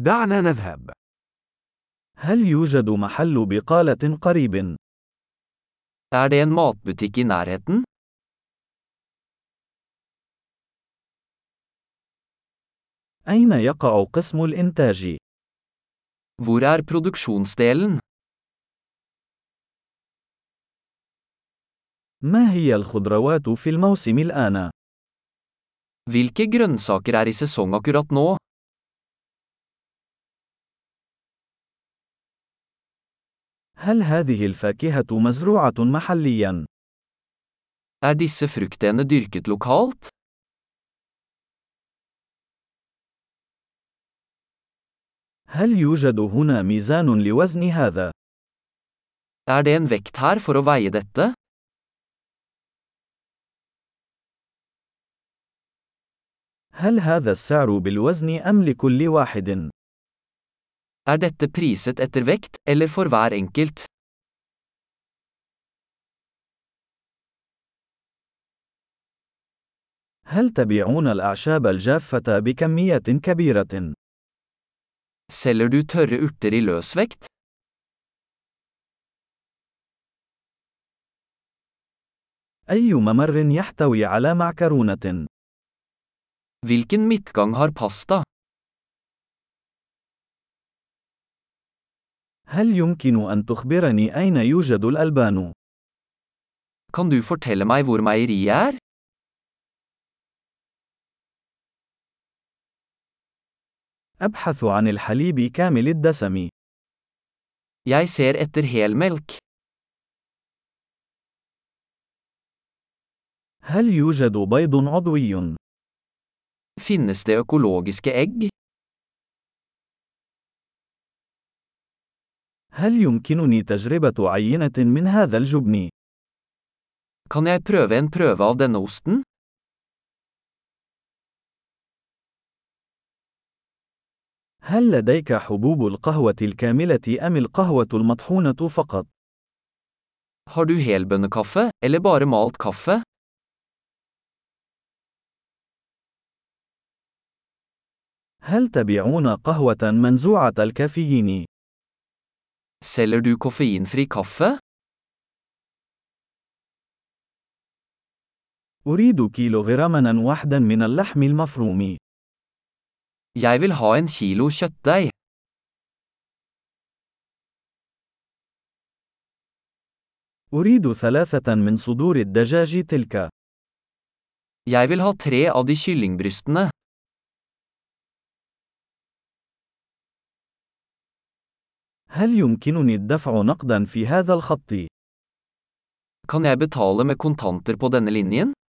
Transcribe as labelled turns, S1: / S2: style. S1: دعنا نذهب.
S2: هل يوجد محل بقالة قريب؟
S3: Er det en matbutikk i nærheten?
S2: أين يقع قسم الإنتاج؟
S3: Hvor er produksjonsdelen?
S2: ما هي الخضروات في الموسم الآن؟
S3: Hvilke grønnsaker er i sesong akkurat nå?
S2: هل هذه الفاكهة مزروعة محلياً؟
S3: Er disse fruktene dyrket lokalt?
S2: هل يوجد هنا ميزان لوزن هذا؟
S3: Er det en vekt her for å veie dette?
S2: هل هذا السعر بالوزن أم لكل واحد؟
S3: Er dette priset etter vekt, eller for hver enkelt?
S2: هل تبيعون الأعشاب الجافة بكمية كبيرة؟
S3: Selger du tørre urter i løsvekt?
S2: أي ممر يحتوي على معكرونة؟
S3: Hvilken midtgang har pasta?
S2: هل يمكن أن تخبرني أين يوجد الألبان؟
S3: Kan du fortelle meg hvor meieriet er?
S2: أبحث عن الحليب كامل الدسم.
S3: Jeg ser etter helmelk.
S2: هل يوجد بيض عضوي؟
S3: Finnes det økologiske egg?
S2: هل يمكنني تجربة عينة من هذا الجبن؟
S3: Kan jeg prøve en prøve av denne osten?
S2: هل لديك حبوب القهوة الكاملة أم القهوة المطحونة فقط؟
S3: Har du helbønnekaffe, eller bare malt kaffe?
S2: هل تبيعون قهوة منزوعة الكافيين؟
S3: Selger du koffeinfri kaffe?
S2: أريد كيلوغراما واحدا من اللحم المفروم.
S3: Jeg vil ha en kilo kjøttdeig.
S2: أريد ثلاثة من صدور الدجاج تلك.
S3: Jeg vil ha tre av de kyllingbrystene.
S2: هل يمكنني الدفع نقدا في هذا الخط؟
S3: Kan jeg betale med kontanter på denne linjen?